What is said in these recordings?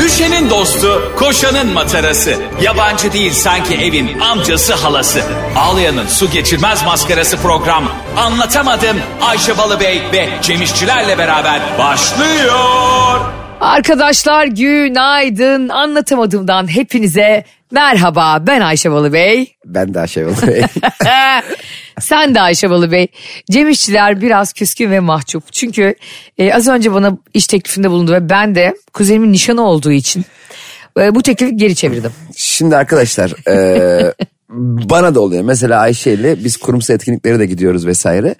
Düşenin dostu, koşanın matarası. Yabancı değil sanki evin amcası halası. Ağlayanın su geçirmez maskarası program. Anlatamadım Ayşe Balıbey ve Cemişçilerle beraber başlıyor. Arkadaşlar günaydın. Anlatamadığımdan hepinize merhaba. Ben Ayşe Balı Bey. Ben daha şey olayım. Sen de Ayşe Balı Bey. Cem İşçiler biraz küskün ve mahcup. Çünkü e, az önce bana iş teklifinde bulundu ve ben de kuzenimin nişanı olduğu için e, bu teklifi geri çevirdim. Şimdi arkadaşlar e, bana da oluyor. Mesela Ayşe ile biz kurumsal etkinliklere de gidiyoruz vesaire.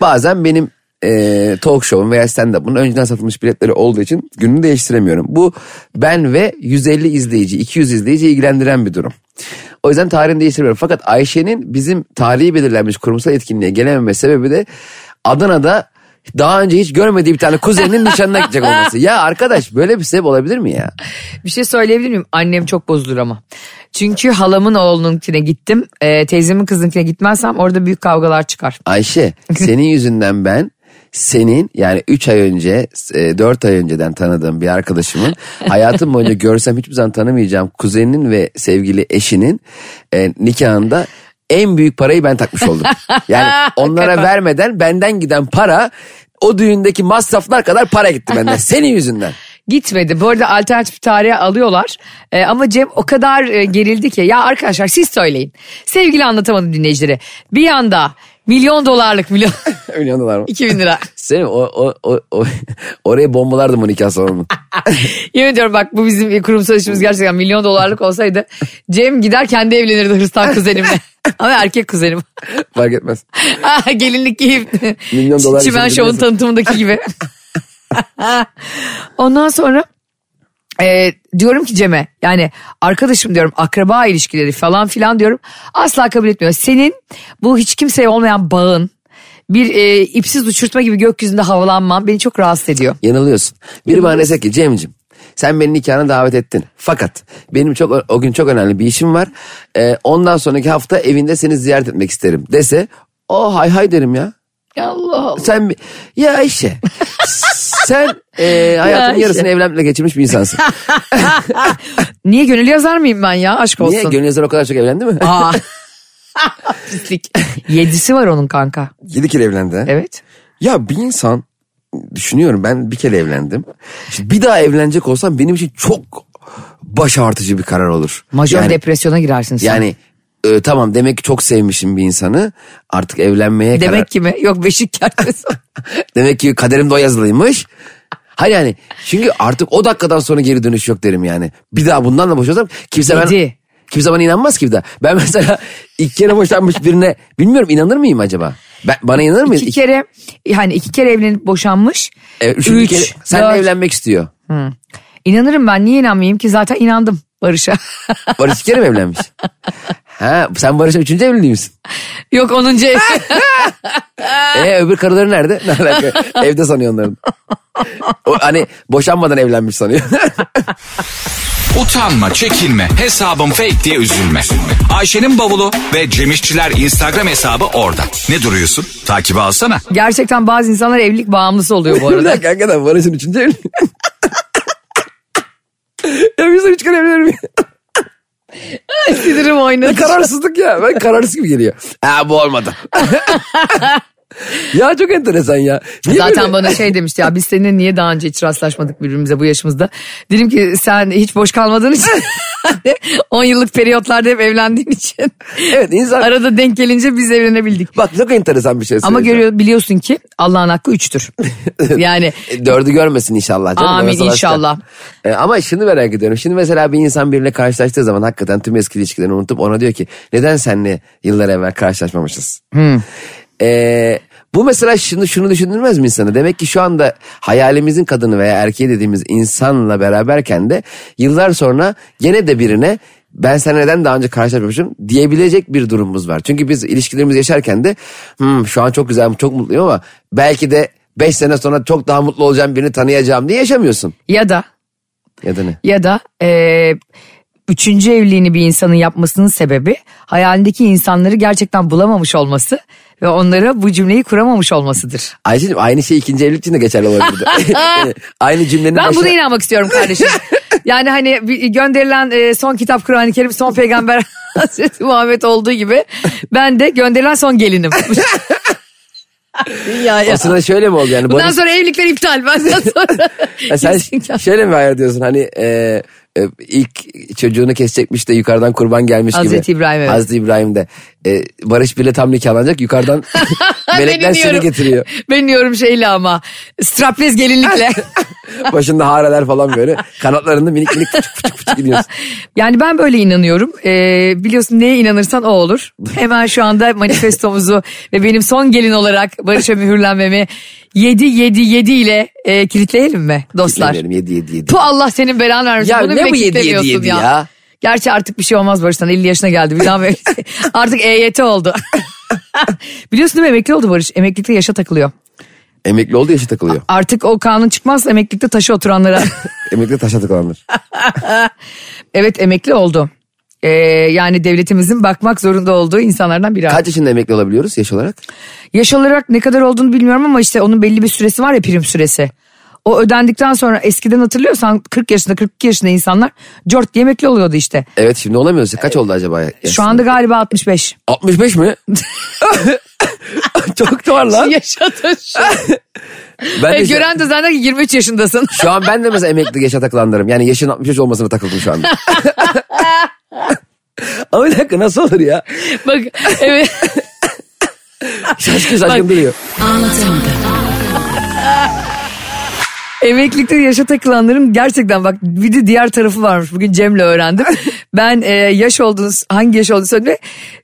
Bazen benim e, talk show'um veya stand-up'ın önceden satılmış biletleri olduğu için gününü değiştiremiyorum. Bu ben ve 150 izleyici, 200 izleyici ilgilendiren bir durum. O yüzden tarihini değiştirmiyorum. Fakat Ayşe'nin bizim tarihi belirlenmiş kurumsal etkinliğe gelememe sebebi de Adana'da daha önce hiç görmediği bir tane kuzeninin nişanına gidecek olması. Ya arkadaş böyle bir sebep olabilir mi ya? Bir şey söyleyebilir miyim? Annem çok bozulur ama. Çünkü halamın oğlununkine gittim. E, teyzemin kızınkine gitmezsem orada büyük kavgalar çıkar. Ayşe senin yüzünden ben senin yani 3 ay önce 4 ay önceden tanıdığım bir arkadaşımın hayatım boyunca görsem hiçbir zaman tanımayacağım kuzeninin ve sevgili eşinin e, nikahında en büyük parayı ben takmış oldum. Yani onlara vermeden benden giden para o düğündeki masraflar kadar para gitti benden senin yüzünden. Gitmedi. Bu arada alternatif tarihe alıyorlar. Ee, ama Cem o kadar e, gerildi ki. Ya arkadaşlar siz söyleyin. Sevgili anlatamadım dinleyicilere. Bir yanda milyon dolarlık milyon. Milyon dolar mı? 2000 lira. Senin o, o, o, o, oraya bombalardım o nikah salonunu. Yemin ediyorum bak bu bizim kurumsal işimiz gerçekten milyon dolarlık olsaydı. Cem gider kendi evlenirdi Hristiyan kuzenimle. Ama erkek kuzenim. Fark etmez. Ah, Gelinlik giyip. Milyon dolar Çimen için Show'un biliyorsun. tanıtımındaki gibi. Ondan sonra e, diyorum ki Cem'e yani arkadaşım diyorum akraba ilişkileri falan filan diyorum asla kabul etmiyor. Senin bu hiç kimseye olmayan bağın bir e, ipsiz uçurtma gibi gökyüzünde havalanman beni çok rahatsız ediyor. Yanılıyorsun. Biri bana dese ki Cem'cim sen beni nikahına davet ettin. Fakat benim çok o gün çok önemli bir işim var. Ee, ondan sonraki hafta evinde seni ziyaret etmek isterim dese o hay hay derim ya. Allah Allah. Sen bi- ya Ayşe sen e, hayatının Ayşe. yarısını evlenmekle geçirmiş bir insansın. Niye gönül yazar mıyım ben ya aşk olsun. Niye gönül yazar o kadar çok evlendi mi? Aa. Pislik. Yedisi var onun kanka. 7 kere evlendi. ha? Evet. Ya bir insan düşünüyorum ben bir kere evlendim. Şimdi bir daha evlenecek olsam benim için çok baş artıcı bir karar olur. Majör Yani- depresyona girersin sen. Yani e, tamam demek ki çok sevmişim bir insanı. Artık evlenmeye Demek karar. ki mi? Yok beşik kertesi. Demek ki kaderimde o yazılıymış. Hayır yani çünkü artık o dakikadan sonra geri dönüş yok derim yani. Bir daha bundan da boşansam kimse ben Yedi. kimse bana inanmaz ki bir daha. Ben mesela ilk kere boşanmış birine bilmiyorum inanır mıyım acaba? Ben, bana inanır mıyız? iki kere yani iki kere evlenip boşanmış. E, üç, üçüncü kere seninle dört. evlenmek istiyor. İnanırım ben niye inanmayayım ki zaten inandım Barış'a. Barış iki kere mi evlenmiş? Ha, sen Barış'a üçüncü evliliği misin? Yok onuncu ev. E öbür karıları nerede? Ne alaka? Evde sanıyor onların. O, hani boşanmadan evlenmiş sanıyor. Utanma, çekinme, hesabım fake diye üzülme. Ayşe'nin bavulu ve Cemişçiler Instagram hesabı orada. Ne duruyorsun? Takibi alsana. Gerçekten bazı insanlar evlilik bağımlısı oluyor bu Bir arada. dakika hakikaten Barış'ın üçüncü evliliği. ya biz de üç kere evlenir Sinirim oynadı. Kararsızlık ya. Ben kararsız gibi geliyor. Ha bu olmadı. ya çok enteresan ya. Niye Zaten böyle- bana şey demişti ya biz seninle niye daha önce hiç rastlaşmadık birbirimize bu yaşımızda. Dedim ki sen hiç boş kalmadığın için 10 yıllık periyotlarda hep evlendiğin için Evet insan... arada denk gelince biz evlenebildik. Bak çok enteresan bir şey Ama söyleyeceğim. görüyor, biliyorsun ki Allah'ın hakkı üçtür. Yani E, Dördü görmesin inşallah. Canım, Amin, orası başka. inşallah. E, ama şunu merak ediyorum. Şimdi mesela bir insan birine karşılaştığı zaman hakikaten tüm eski ilişkilerini unutup ona diyor ki neden seninle yıllar evvel karşılaşmamışız? E, bu mesela şimdi şunu düşündürmez mi insanı? Demek ki şu anda hayalimizin kadını veya erkeği dediğimiz insanla beraberken de yıllar sonra gene de birine ben sen neden daha önce karşılaşmamışım diyebilecek bir durumumuz var. Çünkü biz ilişkilerimizi yaşarken de "Hmm, şu an çok güzel, çok mutluyum ama belki de 5 sene sonra çok daha mutlu olacağım birini tanıyacağım diye yaşamıyorsun. ya da Ya da ne? ya da eee, üçüncü evliliğini bir insanın yapmasının sebebi hayalindeki insanları gerçekten bulamamış olması ve onlara bu cümleyi kuramamış olmasıdır. Ayşe'cim aynı şey ikinci evlilik için de geçerli olabilir. Yani aynı cümlenin Ben buna başına- inanmak istiyorum kardeşim. Yani hani bir- gönderilen e, son kitap Kur'an-ı Kerim son peygamber Hazreti Muhammed olduğu gibi ben de gönderilen son gelinim. Dünyaya. Aslında şöyle mi oldu yani? Bundan Barış- sonra evlilikler iptal. Benden sonra. Ya sen Kesinlikle. şöyle mi hayal diyorsun hani e, e, ilk çocuğunu kesecekmiş de yukarıdan kurban gelmiş gibi. Hazreti İbrahim, evet. Hazreti İbrahim'de. E, Barış bile tam nikahlanacak yukarıdan melekler Beni seni diyorum- getiriyor. Beni diyorum şeyle ama. Straplez gelinlikle. Başında hareler falan böyle kanatlarında minik minik fıçık fıçık fıçık gidiyorsun. Yani ben böyle inanıyorum. Ee, biliyorsun neye inanırsan o olur. Hemen şu anda manifestomuzu ve benim son gelin olarak Barış'a mühürlenmemi 7-7-7 ile e, kilitleyelim mi dostlar? Yemin ederim, Yedi yedi yedi. Tu Allah senin belanı vermesin. Ya Bunu bile ne bu yedi, yedi, kilitlemiyorsun yedi ya. ya? Gerçi artık bir şey olmaz Barış'tan 50 yaşına geldi. Bir daha böyle- artık EYT oldu. Biliyorsun değil mi emekli oldu Barış. Emeklilikte yaşa takılıyor. Emekli oldu yaşı takılıyor. Artık o kanun çıkmazsa emeklilikte taşı oturanlara Emekli taşa takılanlar. Evet emekli oldu. Ee, yani devletimizin bakmak zorunda olduğu insanlardan biri. Kaç yaşında emekli olabiliyoruz yaş olarak? Yaş olarak ne kadar olduğunu bilmiyorum ama işte onun belli bir süresi var ya prim süresi. O ödendikten sonra eskiden hatırlıyorsan 40 yaşında 42 yaşında insanlar cort diye emekli oluyordu işte. Evet şimdi olamıyoruz. Kaç oldu acaba? Şu anda galiba 65. 65 mi? Çok da var lan. Yaşadın şu. Ben Şey, de şu- e, Ee, Gören de zanneder ki 23 yaşındasın. Şu an ben de mesela emekli yaşa takılanlarım. Yani yaşın 63 olmasına takıldım şu anda. Ama bir dakika nasıl olur ya? Bak evet. Şaşkın şaşkın duruyor. Emeklilikte yaşa takılanların gerçekten bak bir de diğer tarafı varmış. Bugün Cem'le öğrendim. Ben e, yaş olduğunuz hangi yaş olduğunu söyledi.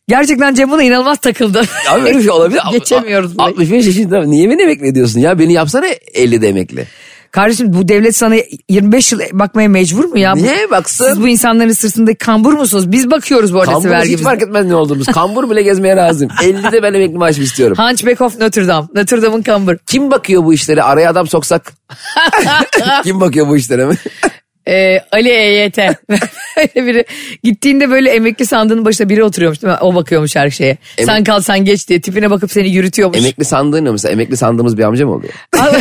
Gerçekten Cem buna inanılmaz takıldı. Abi böyle bir şey olabilir. Geçemiyoruz. burayı. 65 yaşında niye beni emekli ediyorsun ya? Beni yapsana 50'de emekli. Kardeşim bu devlet sana 25 yıl bakmaya mecbur mu ya? Bu- Niye baksın? Siz bu insanların sırtındaki kambur musunuz? Biz bakıyoruz bu arada size Kamburumuz hiç vergimizle. fark etmez ne olduğumuz. Kambur bile gezmeye razıyım. 50'de ben emekli maaşımı istiyorum. Hunchback of Notre Dame. Notre Dame'ın kambur. Kim bakıyor bu işlere? Araya adam soksak. Kim bakıyor bu işlere mi? Ee, Ali EYT. Böyle biri. Gittiğinde böyle emekli sandığının başına biri oturuyormuş değil mi? O bakıyormuş her şeye. Sen kal sen geç diye. Tipine bakıp seni yürütüyormuş. Emekli sandığın ne mesela? Emekli sandığımız bir amca mı oluyor? Abi,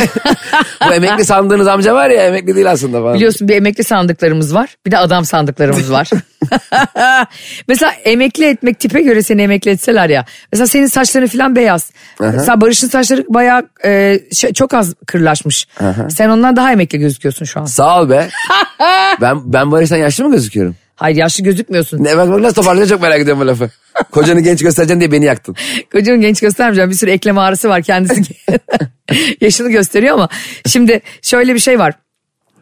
Bu emekli sandığınız amca var ya emekli değil aslında falan. Biliyorsun bir emekli sandıklarımız var. Bir de adam sandıklarımız var. mesela emekli etmek tipe göre seni emekli etseler ya. Mesela senin saçların falan beyaz. Mesela Barış'ın saçları bayağı e, şey- çok az kırlaşmış. Sen ondan daha emekli gözüküyorsun şu an. Sağ ol be. ben ben Barış'tan yaşlı mı gözüküyorum? Hayır yaşlı gözükmüyorsun. Ne bak bak nasıl toparlayacağım çok merak ediyorum bu lafı. Kocanı genç göstereceksin diye beni yaktın. Kocanın genç göstermeyeceğim. Bir sürü eklem ağrısı var kendisi. Yaşını gösteriyor ama. Şimdi şöyle bir şey var.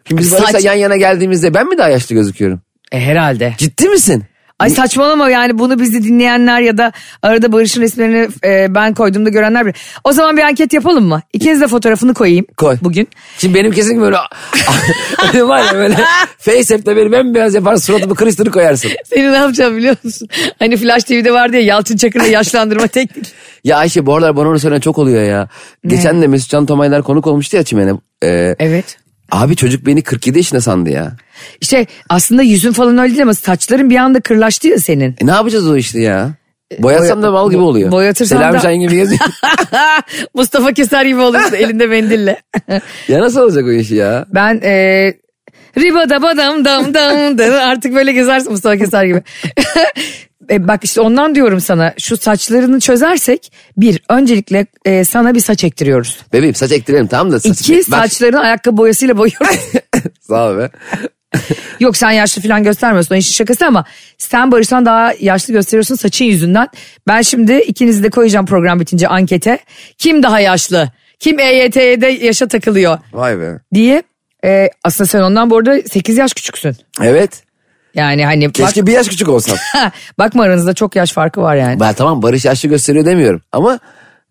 Şimdi biz Saç- Barış'la yan yana geldiğimizde ben mi daha yaşlı gözüküyorum? E, herhalde. Ciddi misin? Ay saçmalama yani bunu bizi dinleyenler ya da arada Barış'ın resmini e, ben koyduğumda görenler bile. O zaman bir anket yapalım mı? İkiniz de fotoğrafını koyayım Koy. bugün. Şimdi benim kesin böyle Hani var ya böyle Faceapp'te benim en beyaz yapar suratımı kırıştırı koyarsın. Seni ne yapacağım biliyor musun? Hani Flash TV'de vardı ya Yalçın Çakır'la yaşlandırma teknik. Ya Ayşe bu aralar bana onu söyleyen çok oluyor ya. Geçen de Mesut Can Tomaylar konuk olmuştu ya Çimen'e. Ee, Evet. Abi. abi çocuk beni 47 yaşında sandı ya. İşte Şey, aslında yüzün falan öyle değil ama saçların bir anda kırlaştı ya senin. E ne yapacağız o işte ya? Boyatsam da mal gibi Boy- oluyor. E, boyatırsam Selami da- Şahin gibi geziyor. Mustafa Keser gibi olursun elinde mendille. ya nasıl olacak o iş ya? Ben e, riba da badam dam dam dam. artık böyle gezersin Mustafa Keser gibi. E, bak işte ondan diyorum sana şu saçlarını çözersek bir öncelikle e, sana bir saç ektiriyoruz. Bebeğim saç ektirelim tamam da. Saç, İki Bak- saçlarını ayakkabı boyasıyla boyuyoruz. Sağ ol be. Yok sen yaşlı falan göstermiyorsun o işin şakası ama sen Barış'tan daha yaşlı gösteriyorsun saçın yüzünden. Ben şimdi ikinizi de koyacağım program bitince ankete. Kim daha yaşlı? Kim EYT'de yaşa takılıyor Vay be. diye. E, aslında sen ondan bu arada 8 yaş küçüksün. Evet. Yani hani bak, Keşke bir yaş küçük olsam. bakma aranızda çok yaş farkı var yani. ben tamam Barış yaşlı gösteriyor demiyorum ama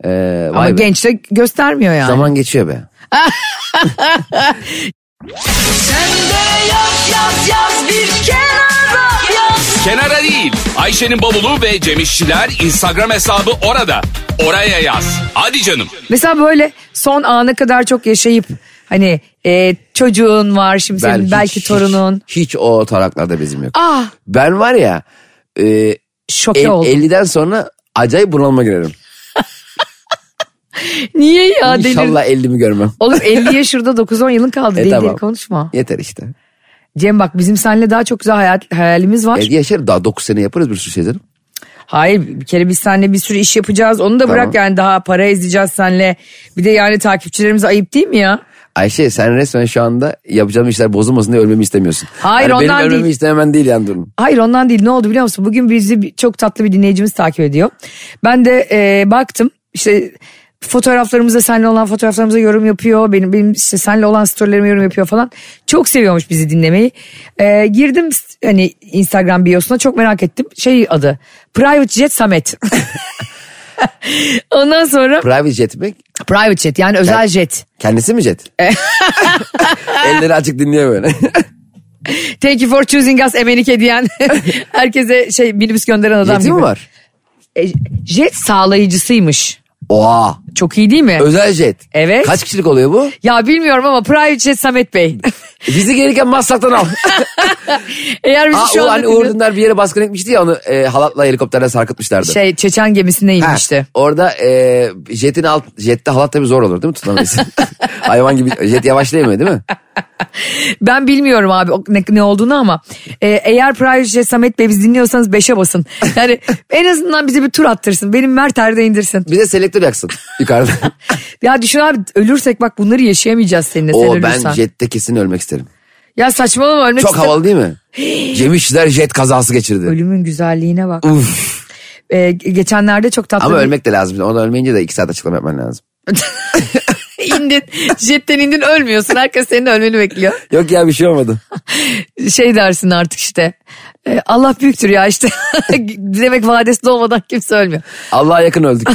e, vay Ama be. genç de göstermiyor yani. Zaman geçiyor be. Kenara değil. Ayşe'nin bavulu ve Cemişçiler Instagram hesabı orada. Oraya yaz. Hadi canım. Mesela böyle son ana kadar çok yaşayıp hani e, çocuğun var şimdi senin hiç- belki hiç- torunun. Hiç, o taraklarda bizim yok. Ah Ben var ya e, şoke el- oldum. 50'den sonra acayip bunalıma girerim. Niye ya delirdin? İnşallah 50'mi görmem. Oğlum 50'ye şurada 9-10 yılın kaldı. E, deli deli tamam. konuşma. Yeter işte. Cem bak bizim seninle daha çok güzel hayal, hayalimiz var. Evde yaşarım daha 9 sene yaparız bir sürü şeyleri. Hayır bir kere biz seninle bir sürü iş yapacağız. Onu da bırak yani daha para izleyeceğiz seninle. Bir de yani takipçilerimize ayıp değil mi ya? Ayşe sen resmen şu anda yapacağım işler bozulmasın diye ölmemi istemiyorsun. Hayır, Yani ondan Benim ölmemi değil. istememen değil yani durum. Hayır ondan değil ne oldu biliyor musun? Bugün bizi bir- çok tatlı bir dinleyicimiz takip ediyor. Ben de e, baktım işte fotoğraflarımıza senle olan fotoğraflarımıza yorum yapıyor. Benim benim işte senle olan storylerime yorum yapıyor falan. Çok seviyormuş bizi dinlemeyi. E, girdim hani Instagram biosuna çok merak ettim. Şey adı Private Jet Samet. Ondan sonra Private jet mi? Private Jet yani özel jet. Kendisi mi jet? Elleri açık dinliyor böyle. Thank you for choosing us Emenike diyen herkese şey minibüs gönderen adam Jeti gibi. mi var? E, jet sağlayıcısıymış. Oha. Çok iyi değil mi? Özel jet. Evet. Kaç kişilik oluyor bu? ya bilmiyorum ama Private Jet Samet Bey. Bizi gelirken Maslak'tan al. Eğer bizi Aa, şu o anda hani Uğur dinliyor- Dündar bir yere baskın etmişti ya onu e, halatla helikopterden sarkıtmışlardı. şey Çeçen gemisine Ha, inmişti. Orada e, jetin alt, jette halat tabii zor olur değil mi tutamayız? Hayvan gibi jet yavaşlayamıyor değil mi? Ben bilmiyorum abi o- ne, ne olduğunu ama e, eğer Private Jet Samet Bey bizi dinliyorsanız 5'e basın. Yani en azından bizi bir tur attırsın. Benim Mert Er'de indirsin. Bir de selektör yaksın yukarıda. Ya düşün abi ölürsek bak bunları yaşayamayacağız seninle sen o ölürsen. ben jette kesin ölmek isterim. Ya saçmalama ölmek Çok istem- havalı değil mi? Cem İşçiler jet kazası geçirdi. Ölümün güzelliğine bak. Uf. E, geçenlerde çok tatlı Ama bir- ölmek de lazım. Onu ölmeyince de iki saat açıklama yapman lazım. indin jetten indin ölmüyorsun. Herkes senin ölmeni bekliyor. Yok ya bir şey olmadı. şey dersin artık işte. e, Allah büyüktür ya işte. Demek vadesi dolmadan kimse ölmüyor. Allah'a yakın öldük.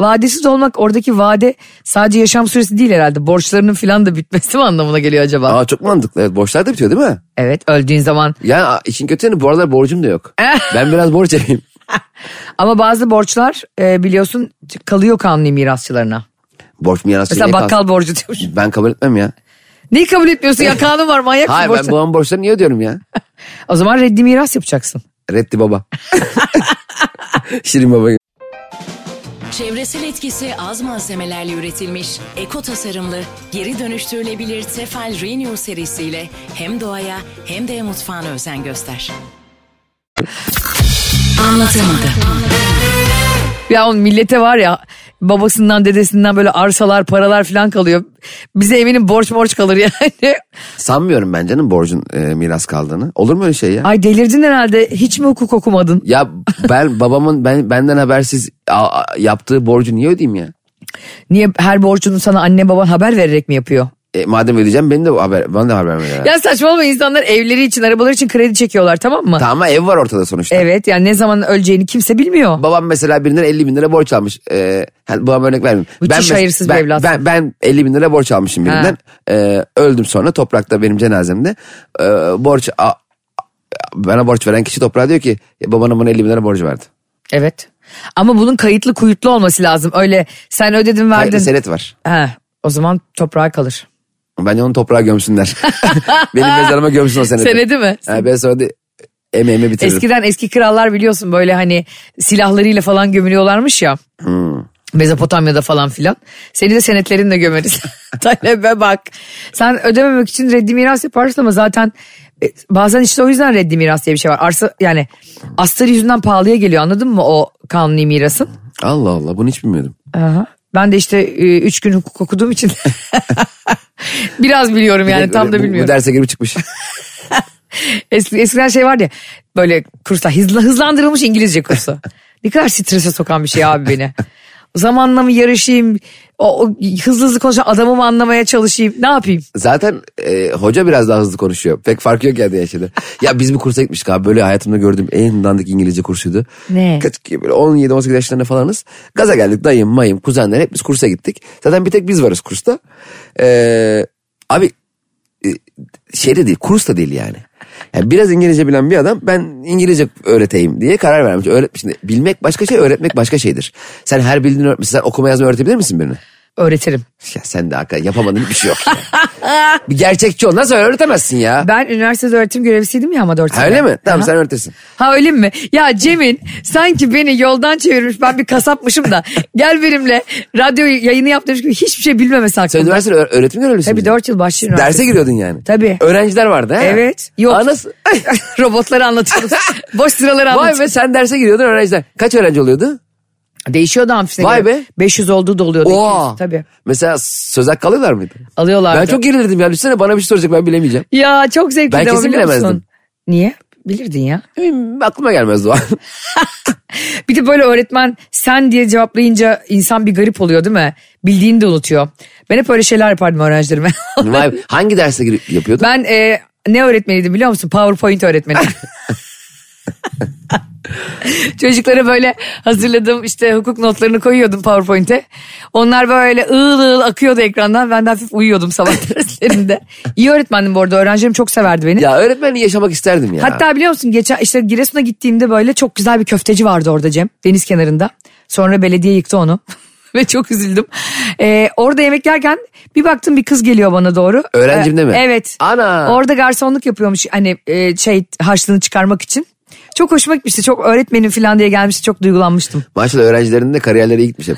Vadesiz olmak oradaki vade sadece yaşam süresi değil herhalde. Borçlarının filan da bitmesi mi anlamına geliyor acaba? Aa çok mantıklı. Evet borçlar da bitiyor değil mi? Evet öldüğün zaman. Yani a- işin kötü yanı bu aralar borcum da yok. ben biraz borç yapayım. Ama bazı borçlar e, biliyorsun kalıyor kanuni mirasçılarına. Şey, Borç mu yarası? Mesela niye kalsın? bakkal borcu diyor. Ben kabul etmem ya. Neyi kabul etmiyorsun ya kanun var manyak mısın Hayır ben borçlar? babamın borçlarını niye ödüyorum ya? O zaman reddi miras yapacaksın. Reddi baba. Şirin baba. Çevresel etkisi az malzemelerle üretilmiş, eko tasarımlı, geri dönüştürülebilir Tefal Renew serisiyle hem doğaya hem de mutfağına özen göster. Anlatamadım. Ya on millete var ya babasından dedesinden böyle arsalar paralar filan kalıyor. Bize eminim borç borç kalır yani. Sanmıyorum ben canım borcun e, miras kaldığını. Olur mu öyle şey ya? Ay delirdin herhalde hiç mi hukuk okumadın? Ya ben babamın ben benden habersiz a- a- yaptığı borcu niye ödeyeyim ya? Niye her borcunu sana anne baban haber vererek mi yapıyor? E, madem ödeyeceğim beni de haber bana da haber ver. ya. Ya saçmalama insanlar evleri için arabaları için kredi çekiyorlar tamam mı? Tamam ama ev var ortada sonuçta. Evet yani ne zaman öleceğini kimse bilmiyor. Babam mesela birinden 50 bin lira borç almış. Ee, hani babam örnek vermeyeyim. Müthiş mes- hayırsız bir ben, evlat. Ben, ben 50 bin lira borç almışım Ha. birinden. Ee, öldüm sonra toprakta benim cenazemde. Ee, borç a- a- bana borç veren kişi toprağa diyor ki "Ya babanın bana 50 bin lira borcu verdi. Evet. Ama bunun kayıtlı kuyutlu olması lazım. Öyle sen ödedin verdin. Hayır, senet var. Ha, o zaman toprağa kalır. Bence onu toprağa gömsünler. benim mezarıma gömsün o seneti. Senedi mi? Ha, ben sonra de, emeğimi bitiririm. Eskiden eski krallar biliyorsun böyle hani silahlarıyla falan gömülüyorlarmış ya. Hmm. Mezopotamya'da falan filan. Seni de senetlerinle gömeriz. Talebe bak. Sen ödememek için reddi miras yaparsın ama zaten e, bazen işte o yüzden reddi miras diye bir şey var. Arsa yani astarı yüzünden pahalıya geliyor anladın mı o kanuni mirasın? Allah Allah bunu hiç bilmiyordum. Aha. Ben de işte e, üç gün hukuk okuduğum için biraz biliyorum yani tam da Bu- Bu, bilmiyorum. derse girip çıkmış. Eski, eskiden şey vardı ya böyle kurslar hızla, hızlandırılmış İngilizce kursu. ne kadar strese sokan bir şey abi beni. Zamanla mı yarışayım, o, o hızlı hızlı konuşan adamı mı anlamaya çalışayım, ne yapayım? Zaten e, hoca biraz daha hızlı konuşuyor. Pek fark yok yani diğer şeyde. Ya biz bir kursa gitmiştik abi. Böyle hayatımda gördüğüm en dandik İngilizce kursuydu. Ne? Kaç, böyle 17-18 yaşlarında falanız. Gaza geldik dayım mayım kuzenler hep biz kursa gittik. Zaten bir tek biz varız kursta. Ee, abi e, şeyde değil kursta değil yani. Yani biraz İngilizce bilen bir adam ben İngilizce öğreteyim diye karar vermiş. Öğret, şimdi bilmek başka şey öğretmek başka şeydir. Sen her bildiğini öğretmişsin. Sen okuma yazma öğretebilir misin birine? öğretirim. Ya sen de hakikaten yapamadığın bir şey yok. ya. bir gerçekçi ol. Nasıl öğretemezsin ya? Ben üniversitede öğretim görevlisiydim ya ama 4 sene. Ha, Öyle mi? Tamam Aha. sen öğretirsin. Ha öyle mi? Ya Cem'in sanki beni yoldan çevirmiş ben bir kasapmışım da gel benimle radyo yayını yap demiş gibi hiçbir şey bilmemesi Sen hakkında. üniversitede öğ- öğretim görevlisi Tabii miydin? 4 yıl başlı üniversite. Derse giriyordun yani. Tabii. Öğrenciler vardı ha? Evet. Yok. Anası... Robotları anlatıyoruz. Boş sıraları Vay anlatıyoruz. be sen derse giriyordun öğrenciler. Kaç öğrenci oluyordu? Değişiyordu amfisine Vay göre. be. 500 olduğu da oluyordu. Oo. 200, Tabii. Mesela sözel kalıyorlar mıydı? Alıyorlardı. Ben çok gerilirdim ya. Düşünsene bana bir şey soracak ben bilemeyeceğim. Ya çok zevkli Ben de ama kesin biliyor musun? bilemezdim. Niye? Bilirdin ya. Benim aklıma gelmezdi o an. Bir de böyle öğretmen sen diye cevaplayınca insan bir garip oluyor değil mi? Bildiğini de unutuyor. Ben hep öyle şeyler yapardım öğrencilerime. Vay be. Hangi derse girip yapıyordun? ben e, ne öğretmeniydim biliyor musun? PowerPoint öğretmeni. Çocuklara böyle hazırladım işte hukuk notlarını koyuyordum PowerPoint'e. Onlar böyle ığıl ığıl akıyordu ekrandan. Ben de hafif uyuyordum sabah derslerinde. İyi öğretmendim bu arada. Öğrencilerim çok severdi beni. Ya öğretmenliği yaşamak isterdim ya. Hatta biliyor musun geçen işte Giresun'a gittiğimde böyle çok güzel bir köfteci vardı orada Cem deniz kenarında. Sonra belediye yıktı onu ve çok üzüldüm. Ee, orada yemek yerken bir baktım bir kız geliyor bana doğru. Ee, Öğrencim de mi? Evet. Ana. Orada garsonluk yapıyormuş hani e, şey harçlığını çıkarmak için. Çok hoşuma gitmişti. Çok öğretmenim falan diye gelmişti. Çok duygulanmıştım. Maşallah öğrencilerin de kariyerleri iyi gitmiş hep.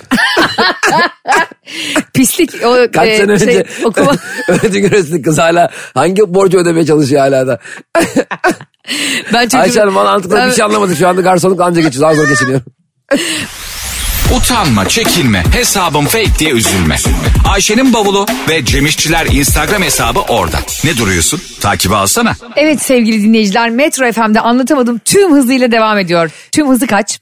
Pislik o Kaç e, sene şey, önce okuma. öğretim görevlisinin kız hala hangi borcu ödemeye çalışıyor hala da. ben çocuğum- Ayşe Hanım bana anlattıkları bir şey anlamadım. Şu anda garsonluk anca geçiyor. Daha zor geçiniyorum. Utanma, çekinme, hesabım fake diye üzülme. Ayşe'nin bavulu ve Cemişçiler Instagram hesabı orada. Ne duruyorsun? Takibi alsana. Evet sevgili dinleyiciler Metro FM'de anlatamadım tüm hızıyla devam ediyor. Tüm hızı kaç?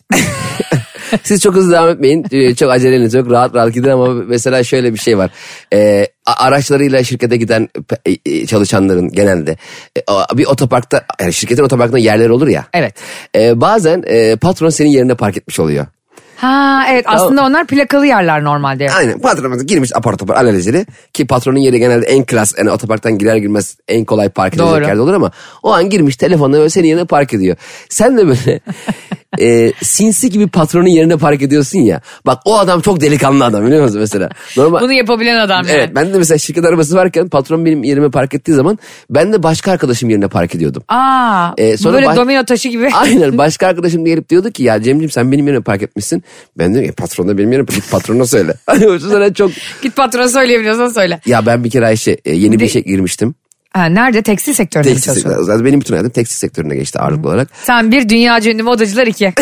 Siz çok hızlı devam etmeyin. Ee, Çok aceleyle çok rahat rahat gidin ama mesela şöyle bir şey var. Ee, a- araçlarıyla şirkete giden pe- e, çalışanların genelde e, a- bir otoparkta yani şirketin otoparkında yerler olur ya. Evet. Ee, bazen e, patron senin yerine park etmiş oluyor. Ha evet aslında onlar plakalı yerler normalde. Aynen patronumuz girmiş apar topar alelacele ki patronun yeri genelde en klas yani otoparktan girer girmez en kolay park edilecek Doğru. yerde olur ama o an girmiş telefonla böyle senin yerine park ediyor. Sen de böyle e, sinsi gibi patronun yerine park ediyorsun ya. Bak o adam çok delikanlı adam biliyor musun mesela. Normal, Bunu yapabilen adam yani. evet ben de mesela şirket arabası varken patron benim yerime park ettiği zaman ben de başka arkadaşım yerine park ediyordum. Aa, Ee, sonra böyle baş- domino taşı gibi. Aynen başka arkadaşım da gelip diyordu ki ya Cem'ciğim sen benim yerime park etmişsin. Ben de patron da benim yerime git patrona söyle. Hani o yüzden çok Git patrona söyleyebiliyorsan söyle. ya ben bir kere Ayşe e, yeni bir işe girmiştim. Ha, nerede? Tekstil sektöründe mi Tekstil çalışıyorsun? sektörü. Zaten benim bütün hayatım tekstil sektöründe geçti ağırlıklı olarak. Sen bir dünya ünlü modacılar iki.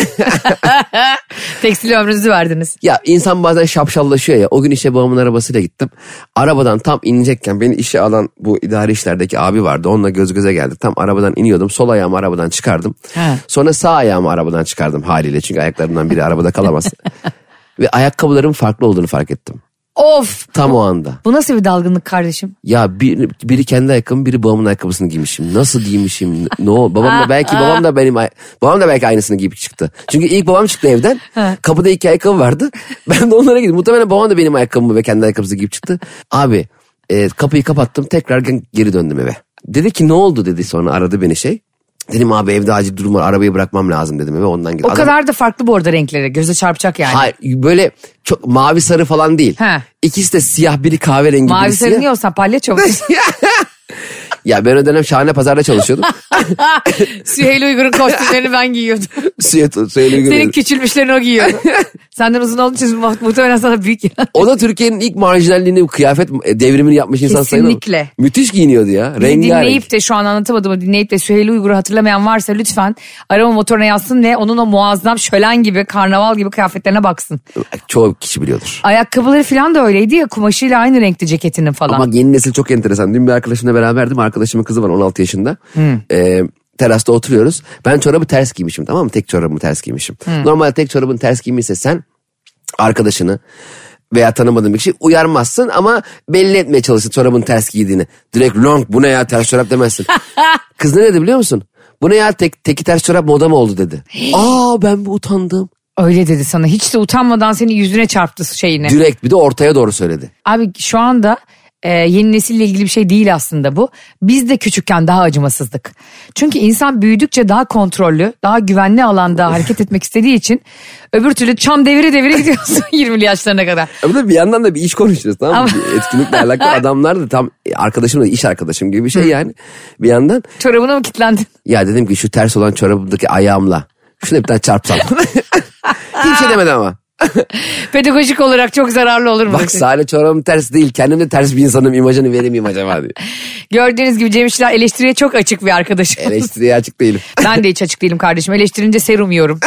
tekstil ömrünüzü verdiniz. Ya insan bazen şapşallaşıyor ya. O gün işe babamın arabasıyla gittim. Arabadan tam inecekken beni işe alan bu idari işlerdeki abi vardı. Onunla göz göze geldik. Tam arabadan iniyordum. Sol ayağımı arabadan çıkardım. He. Sonra sağ ayağımı arabadan çıkardım haliyle. Çünkü ayaklarımdan biri arabada kalamaz. Ve ayakkabılarım farklı olduğunu fark ettim. Of Tam o anda. bu nasıl bir dalgınlık kardeşim? Ya bir, biri kendi ayakkabımı biri babamın ayakkabısını giymişim. Nasıl giymişim? N- Ne o? Babam da belki babam da benim ay- babam da belki aynısını giyip çıktı. Çünkü ilk babam çıktı evden. kapıda iki ayakkabı vardı. Ben de onlara gittim. Muhtemelen babam da benim ayakkabımı ve kendi ayakkabısını giyip çıktı. Abi e, kapıyı kapattım tekrar gen- geri döndüm eve. Dedi ki ne oldu dedi sonra aradı beni şey. Dedim abi evde acil durum var arabayı bırakmam lazım dedim eve ondan O gittim. Adam- kadar da farklı bu arada renkleri. Göze çarpacak yani. Hayır böyle çok mavi sarı falan değil. He. İkisi de siyah biri kahverengi Mavi biri sarı siyah. niye olsan palyaço musun? Ya ben o dönem şahane pazarda çalışıyordum. Süheyl Uygur'un kostümlerini ben giyiyordum. Siyah- Süheyl Uygur. Senin küçülmüşlerini o giyiyordu. Senden uzun olduğu için mu- muhtemelen sana büyük ya. O da Türkiye'nin ilk marjinalliğini, kıyafet e, devrimini yapmış insan sayılır. mı? Kesinlikle. Müthiş giyiniyordu ya. Bizi Rengarenk. dinleyip de şu an anlatamadığımı dinleyip de Süheyl Uygur'u hatırlamayan varsa lütfen arama motoruna yazsın ve onun o muazzam şölen gibi karnaval gibi kıyafetlerine baksın. Çoğu kişi biliyordur. Ayakkabıları falan da öyleydi ya kumaşıyla aynı renkte ceketinin falan. Ama yeni nesil çok enteresan. Dün bir arkadaşımla beraberdim. Arkadaşımın kızı var 16 yaşında. Ee, terasta oturuyoruz. Ben çorabı ters giymişim tamam mı? Tek çorabımı ters giymişim. Normalde tek çorabın ters giymişse sen arkadaşını veya tanımadığın bir kişi uyarmazsın ama belli etmeye çalışsın çorabın ters giydiğini. Direkt long bu ne ya ters çorap demezsin. Kız ne dedi biliyor musun? Bu ne ya tek, teki ters çorap moda mı oldu dedi. Aa ben bu utandım. Öyle dedi sana hiç de utanmadan senin yüzüne çarptı şeyini. Direkt bir de ortaya doğru söyledi. Abi şu anda e, yeni nesille ilgili bir şey değil aslında bu. Biz de küçükken daha acımasızdık. Çünkü insan büyüdükçe daha kontrollü, daha güvenli alanda hareket etmek istediği için öbür türlü çam devire devire gidiyorsun 20'li yaşlarına kadar. Ama da bir yandan da bir iş konuşuyoruz tamam mı? Ama- Bir Etkinlikle alakalı adamlar da tam e, arkadaşım da iş arkadaşım gibi bir şey yani. Bir yandan Çorabına mı kilitlendin? ya dedim ki şu ters olan çorabımdaki ayağımla şuna bir tane çarpsam. Hiçbir şey demedim ama. Pedagojik olarak çok zararlı olur mu? Bak Salih çorabım ters değil kendim de ters bir insanım imajını veremeyeyim acaba diye. Gördüğünüz gibi Cem İşçiler eleştiriye çok açık bir arkadaşım. Eleştiriye açık değilim. Ben de hiç açık değilim kardeşim. Eleştirince serum yiyorum.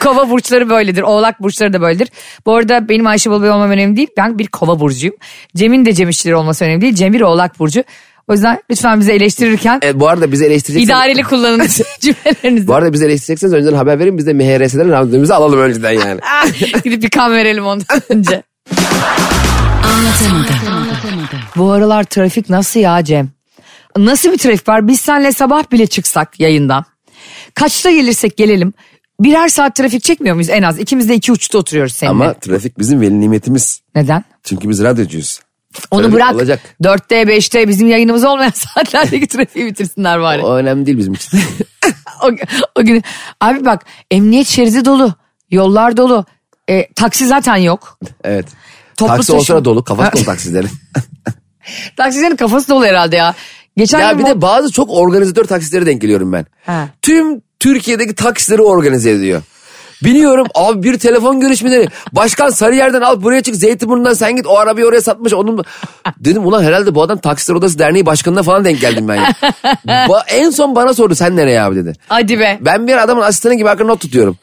kova burçları böyledir. Oğlak burçları da böyledir. Bu arada benim Ayşe Balıbey olmam önemli değil. Ben bir kova burcuyum. Cem'in de Cem İşçileri olması önemli değil. Cem bir oğlak burcu. O yüzden lütfen bizi eleştirirken E, bu arada bizi eleştireceksiniz. idareli kullanın cümlelerinizi. Bu arada bizi eleştireceksiniz önceden haber verin biz de MHRS'den randevunuzu alalım önceden yani. Gidip bir kan verelim ondan önce. Bu aralar trafik nasıl ya Cem? Nasıl bir trafik var? Biz senle sabah bile çıksak yayından. Kaçta gelirsek gelelim. Birer saat trafik çekmiyor muyuz en az? İkimiz de iki uçta oturuyoruz seninle. Ama trafik bizim veli nimetimiz. Neden? Çünkü biz radyocuyuz. Onu Trafik bırak. olacak. Dörtte, beşte bizim yayınımız olmayan saatlerdeki trafiği bitirsinler bari. O, O önemli değil bizim için. o gün. Abi bak emniyet şeridi dolu. Yollar dolu. E, taksi zaten yok. evet. Toplu Taksi olsa taşıma- da dolu kafası dolu taksilerin. Taksicilerin kafası dolu herhalde ya. Geçen ya gün bir bu- de bazı çok organizatör taksilere denk geliyorum ben. Ha. Tüm Türkiye'deki taksileri organize ediyor. Biniyorum abi bir telefon görüşmeleri. Başkan Sarıyer'den al buraya çık Zeytinburnu'ndan sen git o arabayı oraya satmış. Onun... Dedim ulan herhalde bu adam taksiler odası derneği başkanına falan denk geldim ben. Ya. Ba- en son bana sordu sen nereye abi dedi. Hadi be. Ben bir adamın asistanı gibi hakkında not tutuyorum.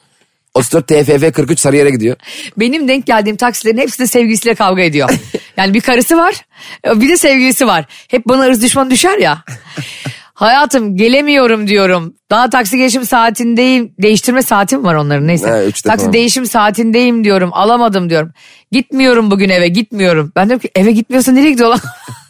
34 TFF 43 Sarıyer'e gidiyor. Benim denk geldiğim taksilerin hepsi de sevgilisiyle kavga ediyor. Yani bir karısı var bir de sevgilisi var. Hep bana ırz düşman düşer ya. Hayatım gelemiyorum diyorum. Daha taksi geçim saatindeyim. Değiştirme saatim var onların neyse. Ha, üçte taksi falan. değişim saatindeyim diyorum. Alamadım diyorum. Gitmiyorum bugün eve gitmiyorum. Ben diyorum ki eve gitmiyorsa nereye gidiyorlar?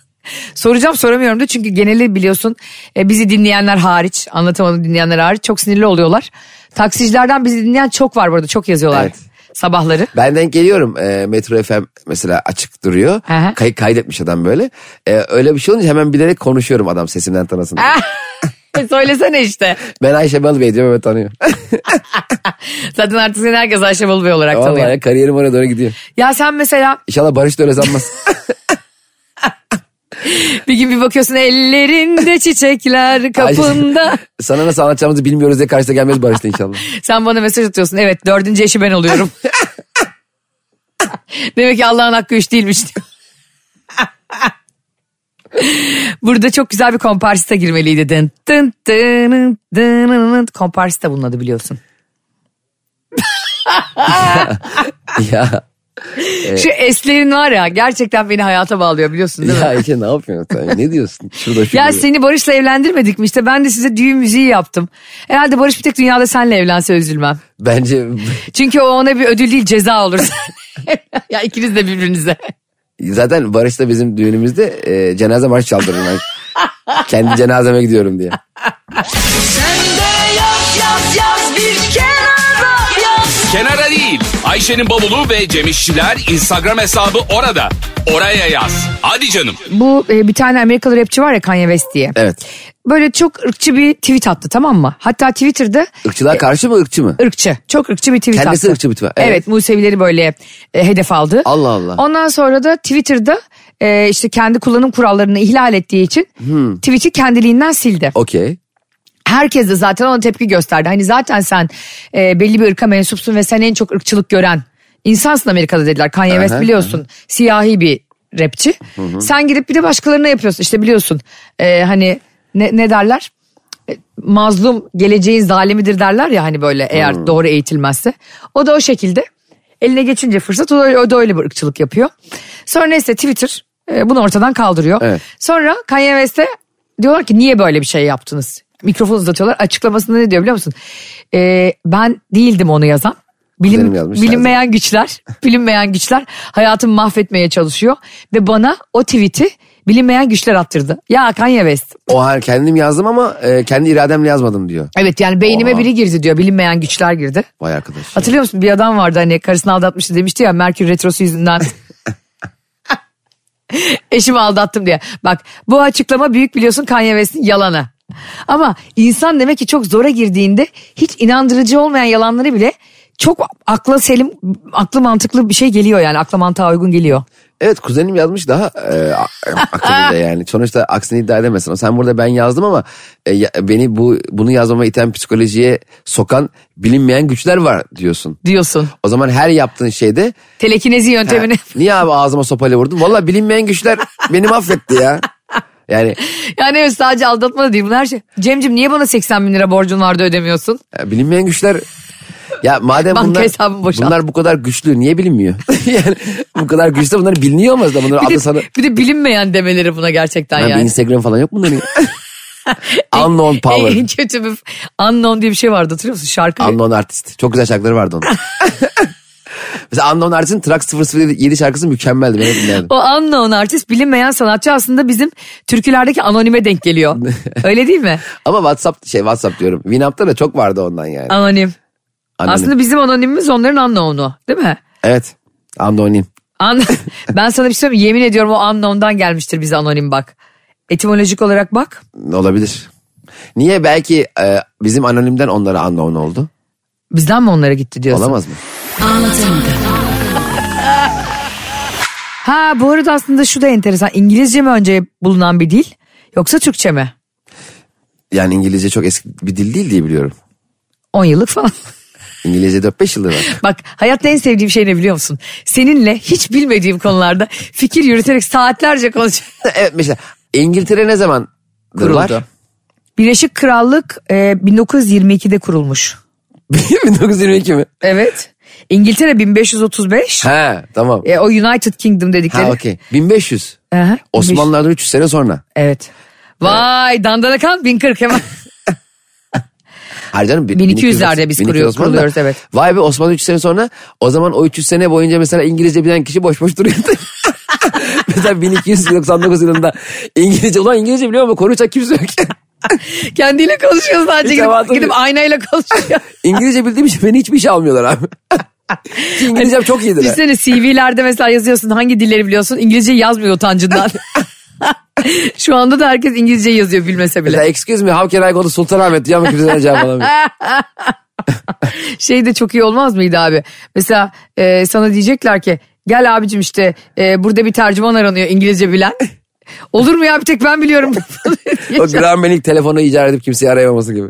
Soracağım soramıyorum da çünkü geneli biliyorsun e, bizi dinleyenler hariç anlatamadım dinleyenler hariç çok sinirli oluyorlar. Taksicilerden bizi dinleyen çok var burada çok yazıyorlar Evet. sabahları. Ben denk geliyorum e, Metro FM mesela açık duruyor. Aha. Kay- kaydetmiş adam böyle. E, öyle bir şey olunca hemen bilerek konuşuyorum adam sesimden tanısın. diye. Söylesene işte. Ben Ayşe Balıbey diyor Mehmet tanıyor. Zaten artık seni herkes Ayşe Balıbey olarak tanıyor. Vallahi kariyerim oraya doğru gidiyor. Ya sen mesela İnşallah Barış da öyle sanmaz. bir gün bir bakıyorsun ellerinde çiçekler kapında. Sana nasıl anlatacağımızı bilmiyoruz diye karşıda gelmez Barış da inşallah. sen bana mesaj atıyorsun evet dördüncü eşi ben oluyorum. Demek ki Allah'ın hakkı üç değilmiş. Burada çok güzel bir komparsita girmeliydi. Dın dın dın dın dın. Komparsita bunun adı biliyorsun. ya, Şu eslerin var ya gerçekten beni hayata bağlıyor biliyorsun değil mi? ya Ayşe ne yapıyorsun sen? Ne diyorsun? Şurada şu Ya gibi. seni Barış'la evlendirmedik mi işte ben de size düğün müziği yaptım. Herhalde Barış bir tek dünyada senle evlense üzülmem. Bence Çünkü o ona bir ödül değil ceza olur. ya ikiniz de birbirinize. zaten Barış da bizim düğünümüzde e, cenaze marşı çaldırırım ben. Kendi cenazeme gidiyorum diye. Kenara değil. Ayşe'nin bavulu ve Cemişçiler Instagram hesabı orada. Oraya yaz. Hadi canım. Bu e, bir tane Amerikalı rapçi var ya Kanye West diye. Evet. Böyle çok ırkçı bir tweet attı tamam mı? Hatta Twitter'da Irkçılığa karşı mı ırkçı mı? ırkçı. Çok ırkçı bir tweet Kendisi attı. ırkçı bir tweet. Evet. Evet. Musevileri böyle e, hedef aldı. Allah Allah. Ondan sonra da Twitter'da e, işte kendi kullanım kurallarını ihlal ettiği için Hmm. tweet'i kendiliğinden sildi. Okey. herkes de zaten ona tepki gösterdi. Hani zaten sen e, belli bir ırka mensupsun ve sen en çok ırkçılık gören insansın Amerika'da dediler. Kanye West Aha, biliyorsun siyahi bir rapçi. Sen gidip bir de başkalarına yapıyorsun. İşte biliyorsun e, hani ne, ne derler? E, Mazlum geleceğin zalimidir derler ya hani böyle eğer Hmm. doğru eğitilmezse. O da o şekilde eline geçince fırsat o da, o da öyle bir ırkçılık yapıyor. Sonra neyse Twitter e, bunu ortadan kaldırıyor. Evet. Sonra Kanye West'e diyorlar ki niye böyle bir şey yaptınız? Mikrofon uzatıyorlar. Açıklamasında ne diyor biliyor musun? Ee, ben değildim onu yazan. Bilim, Kuzenim yazmış bilinmeyen güçler, bilinmeyen güçler hayatımı mahvetmeye çalışıyor. Ve bana o tweet'i bilinmeyen güçler attırdı. Ya Kanye West. O her kendim yazdım ama e, kendi irademle yazmadım diyor. Evet yani beynime Oha. biri girdi diyor. Bilinmeyen güçler girdi. Vay arkadaş. Hatırlıyor musun bir adam vardı hani karısını aldatmıştı demişti ya Merkür Retrosu yüzünden. Eşimi aldattım diye. Bak bu açıklama büyük biliyorsun Kanye West'in yalanı. Ama insan demek ki çok zora girdiğinde hiç inandırıcı olmayan yalanları bile çok akla selim, aklı mantıklı bir şey geliyor yani. Akla mantığa uygun geliyor. Evet kuzenim yazmış daha e, a- akıllıca yani. Sonuçta aksini iddia edemezsin. Sen burada ben yazdım ama e, ya- beni bu bunu yazmama iten psikolojiye sokan bilinmeyen güçler var diyorsun. Diyorsun. O zaman her yaptığın şeyde Telekinezi "Ha, yöntemini. niye abi ağzıma sopayla vurdun? Valla bilinmeyen güçler beni mahvetti ya. Yani yani evet sadece aldatma da değil bunun her şey. Cemcim niye bana 80 bin lira borcun vardı ödemiyorsun? e, bilinmeyen güçler ya madem Banka bunlar, hesabımı boşalt. bunlar bu kadar güçlü niye bilinmiyor? yani bu kadar güçlü bunlar biliniyor olmaz da bunlar Bir adı de, sana... bir de bilinmeyen demeleri buna gerçekten Yani. Bir yani. Instagram falan yok mu bunların? ya? Unknown power. En kötü bir unknown diye bir şey vardı hatırlıyor musun? Şarkı. Unknown Artist. Çok güzel şarkıları vardı onun. Mesela Unknown Artist'in Track 007 şarkısı mükemmeldi. Ben hep dinlerdim. O unknown artist bilinmeyen sanatçı aslında bizim türkülerdeki anonime denk geliyor. Öyle değil mi? Ama WhatsApp şey WhatsApp diyorum. Winamp'ta da çok vardı ondan yani. Anonim. Anonim. Aslında bizim anonimimiz onların unknown'u değil mi? Evet. Anonim. An ben sana bir şey söyleyeyim mi? yemin ediyorum o unknown'dan gelmiştir bize anonim bak. Etimolojik olarak bak. Olabilir. Niye belki e, bizim anonimden onlara unknown oldu? Bizden mi onlara gitti diyorsun? Olamaz mı? Anlatamadım. Ha bu arada aslında şu da enteresan. İngilizce mi önce bulunan bir dil yoksa Türkçe mi? Yani İngilizce çok eski bir dil değil diye biliyorum. 10 yıllık falan. İngilizce 4-5 yıldır var. Bak hayatta en sevdiğim şey ne biliyor musun? Seninle hiç bilmediğim konularda fikir yürüterek saatlerce konuşuyorum. evet mesela İngiltere ne zaman var? Birleşik Krallık e, 1922'de kurulmuş. 1922 mi? Evet. İngiltere 1535. Ha tamam. E, o United Kingdom dedikleri. Ha okey. 1500. Aha, Osmanlılardan 300 sene sonra. Evet. Vay dandanakan 1040 hemen. Hayır canım, bir- 1200'lerde 1200, biz 1200 kuruyor- Osmanlı. kuruluyoruz, evet. Vay be Osmanlı 300 sene sonra o zaman o 300 sene boyunca mesela İngilizce bilen kişi boş boş duruyordu. mesela 1299 yılında İngilizce ulan İngilizce biliyor ama konuşacak kimse yok. Kendiyle konuşuyor sadece Hiç gidip, avantajı gidip yok. aynayla konuşuyor. İngilizce bildiğim için beni hiçbir işe almıyorlar abi. Ki İngilizcem çok iyidir. ha. Düşünsene CV'lerde mesela yazıyorsun hangi dilleri biliyorsun İngilizce yazmıyor utancından. Şu anda da herkes İngilizce yazıyor bilmese bile. Mesela excuse me how can I go to Sultanahmet diyor ama kimse cevap alamıyor. şey de çok iyi olmaz mıydı abi? Mesela e, sana diyecekler ki gel abicim işte e, burada bir tercüman aranıyor İngilizce bilen. Olur mu ya bir tek ben biliyorum. o Graham telefonu icat edip kimseyi arayamaması gibi.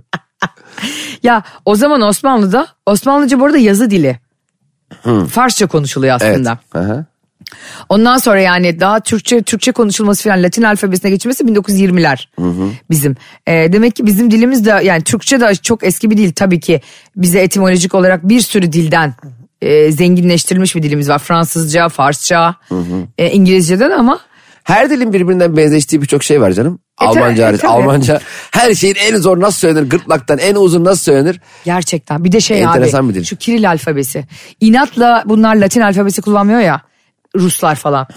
ya o zaman Osmanlı'da Osmanlıca bu arada yazı dili. Farsça konuşuluyor Evet. aslında. Aha. Ondan sonra yani daha Türkçe Türkçe konuşulması falan Latin alfabesine geçilmesi 1920'ler bizim. E, demek ki bizim dilimiz de yani Türkçe de çok eski bir dil tabii ki bize etimolojik olarak bir sürü dilden e, zenginleştirilmiş bir dilimiz var. Fransızca, Farsça, e, İngilizceden ama Her dilin birbirinden benzeştiği birçok şey var canım. E, tabii, Almanca hariç. e, tabii. Almanca her şeyin en zor nasıl söylenir? Gırtlaktan en uzun nasıl söylenir? gerçekten bir de şey Enteresan abi bir dil. şu Kiril alfabesi. İnatla bunlar Latin alfabesi kullanmıyor ya Ruslar falan.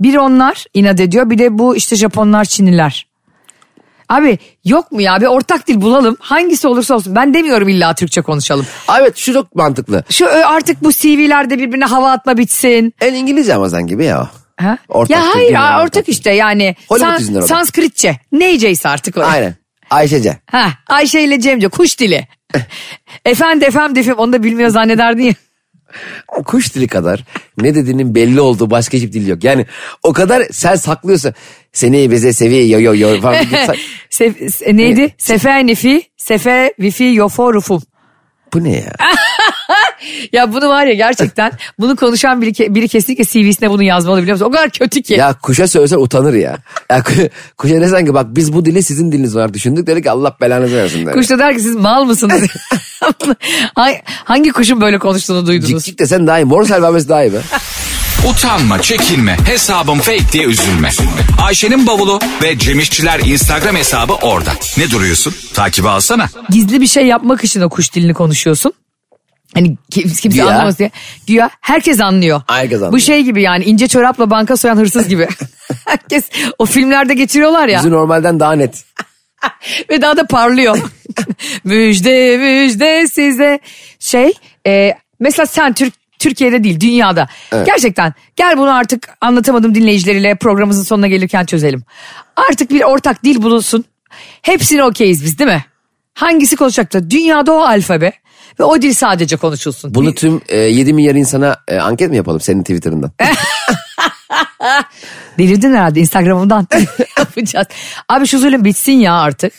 Bir onlar inat ediyor bir de bu işte Japonlar, Çinliler. Abi yok mu ya bir ortak dil bulalım hangisi olursa olsun ben demiyorum illa Türkçe konuşalım. Aa, Evet şu çok mantıklı. Şu ö, artık bu CV'lerde birbirine hava atma bitsin. En İngilizce Amazon gibi ya. o. Ha? Ortak ya dil, hayır genel ortak, ortak dil. işte yani. Hollywood yüzünden o da. Sanskritçe neyceyse artık o. Aynen. Ayşece. Ha, Ayşe ile Cemce kuş dili. efendim efendim defim onu da bilmiyor zannederdin ya. Kuş dili kadar ne dediğinin belli olduğu başka hiçbir dil yok. Yani o kadar sen saklıyorsun. Seni bize seviye yo yo yo falan. Sef- se- neydi? Sefe nifi, sefe vifi yofo rufum. Bu ne ya? Ya bunu var ya gerçekten bunu konuşan biri, ke- biri kesinlikle CV'sine bunu yazmalı biliyor musun? O kadar kötü ki. Ya kuşa söylesen utanır ya. ya ku- kuşa desen ki bak biz bu dili sizin diliniz var düşündük. Dedik ki Allah belanızı versin. der. Kuş da der ki siz mal mısınız? Hay- Hangi kuşun böyle konuştuğunu duydunuz? Cikcik desen daha iyi. Mor selvamesi daha iyi be. Utanma, çekinme, hesabım fake diye üzülme. Ayşe'nin bavulu ve Cemişçiler Instagram hesabı orada. Ne duruyorsun? Takibi alsana. Gizli bir şey yapmak için o kuş dilini konuşuyorsun. Hani kim- kimse Güya. anlamaz diye. Güya herkes anlıyor. Herkes anlıyor. Bu şey gibi yani ince çorapla banka soyan hırsız gibi. herkes o filmlerde geçiriyorlar ya. Bizi normalden daha net. Ve daha da parlıyor. müjde müjde size. Şey e, mesela sen Türk Türkiye'de değil dünyada. Gerçekten gel bunu artık anlatamadım dinleyicileriyle programımızın sonuna gelirken çözelim. Artık bir ortak dil bulunsun. Hepsini okeyiz biz değil mi? Hangisi konuşacak da dünyada o alfabe ve o dil sadece konuşulsun. Bunu tüm e, 7 milyar insana e, anket mi yapalım senin Twitter'ından? Delirdin herhalde Instagram'dan yapacağız. Abi şu zulüm bitsin ya artık.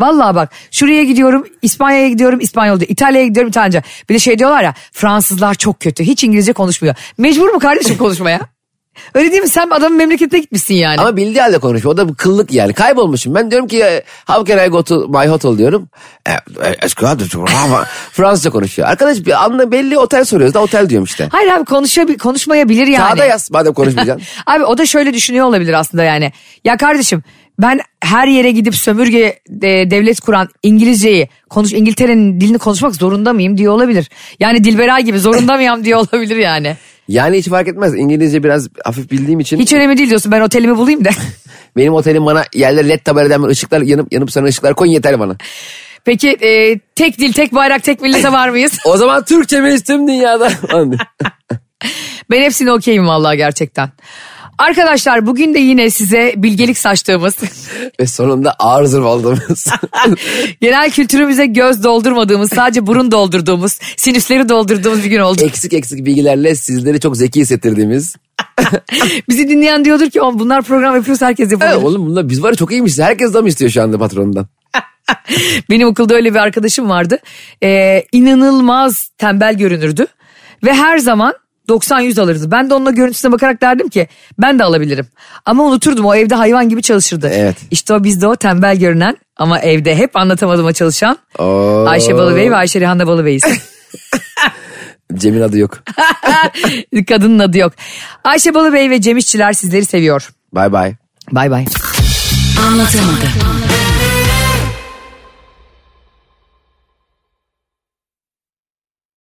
Vallahi bak şuraya gidiyorum İspanya'ya gidiyorum İspanyolca İtalya'ya gidiyorum İtalyanca. Bir de şey diyorlar ya Fransızlar çok kötü hiç İngilizce konuşmuyor. Mecbur mu kardeşim konuşmaya? Öyle değil mi sen adamın memleketine gitmişsin yani. Ama bildiği halde konuşuyor. O da bu kıllık yani. Kaybolmuşum. Ben diyorum ki e, how can I go to my hotel diyorum. E, e, escuadro, Fransızca konuşuyor. Arkadaş bir anla belli otel soruyoruz da otel diyorum işte. Hayır abi konuşabil- konuşmayabilir yani. Kağıda yaz madem konuşmayacaksın. Abi o da şöyle düşünüyor olabilir aslında yani. Ya kardeşim ben her yere gidip sömürge e, devlet kuran İngilizceyi konuş İngiltere'nin dilini konuşmak zorunda mıyım diyor olabilir. Yani Dilberay gibi zorunda mıyım diyor olabilir yani. yani hiç fark etmez. İngilizce biraz hafif bildiğim için. Hiç önemli değil diyorsun ben otelimi bulayım da. Benim otelim bana yerler led tabeladan böyle ışıklar yanıp yanıp sana ışıklar koy yeter bana. Peki e, tek dil tek bayrak tek millete var mıyız? O zaman Türkçemiz tüm dünyada. Ben hepsini okeyim vallahi gerçekten. Arkadaşlar bugün de yine size bilgelik saçtığımız Ve sonunda ağır zırvaladığımız. Genel kültürümüze göz doldurmadığımız, sadece burun doldurduğumuz, sinüsleri doldurduğumuz bir gün oldu. eksik eksik bilgilerle sizleri çok zeki hissettirdiğimiz. Bizi dinleyen diyordur ki "Oğlum bunlar program yapıyorsa herkes Evet, yapabilir. oğlum bunlar biz var ya çok iyiymişiz. Herkes zam istiyor şu anda patronundan. Benim okulda öyle bir arkadaşım vardı. Ee, inanılmaz tembel görünürdü. Ve her zaman 90-100 alırdı. Ben de onunla görüntüsüne bakarak derdim ki ben de alabilirim. Ama unuturdum o evde hayvan gibi çalışırdı. Evet. İşte o bizde o tembel görünen ama evde hep anlatamadığıma çalışan Oo. Ayşe Balıbey ve Ayşe Rihanna Balıbey'iz. Cem'in adı yok. Kadının adı yok. Ayşe Balıbey ve Cem İşçiler sizleri seviyor. Bay bay. Bay bay. Anlatamadım.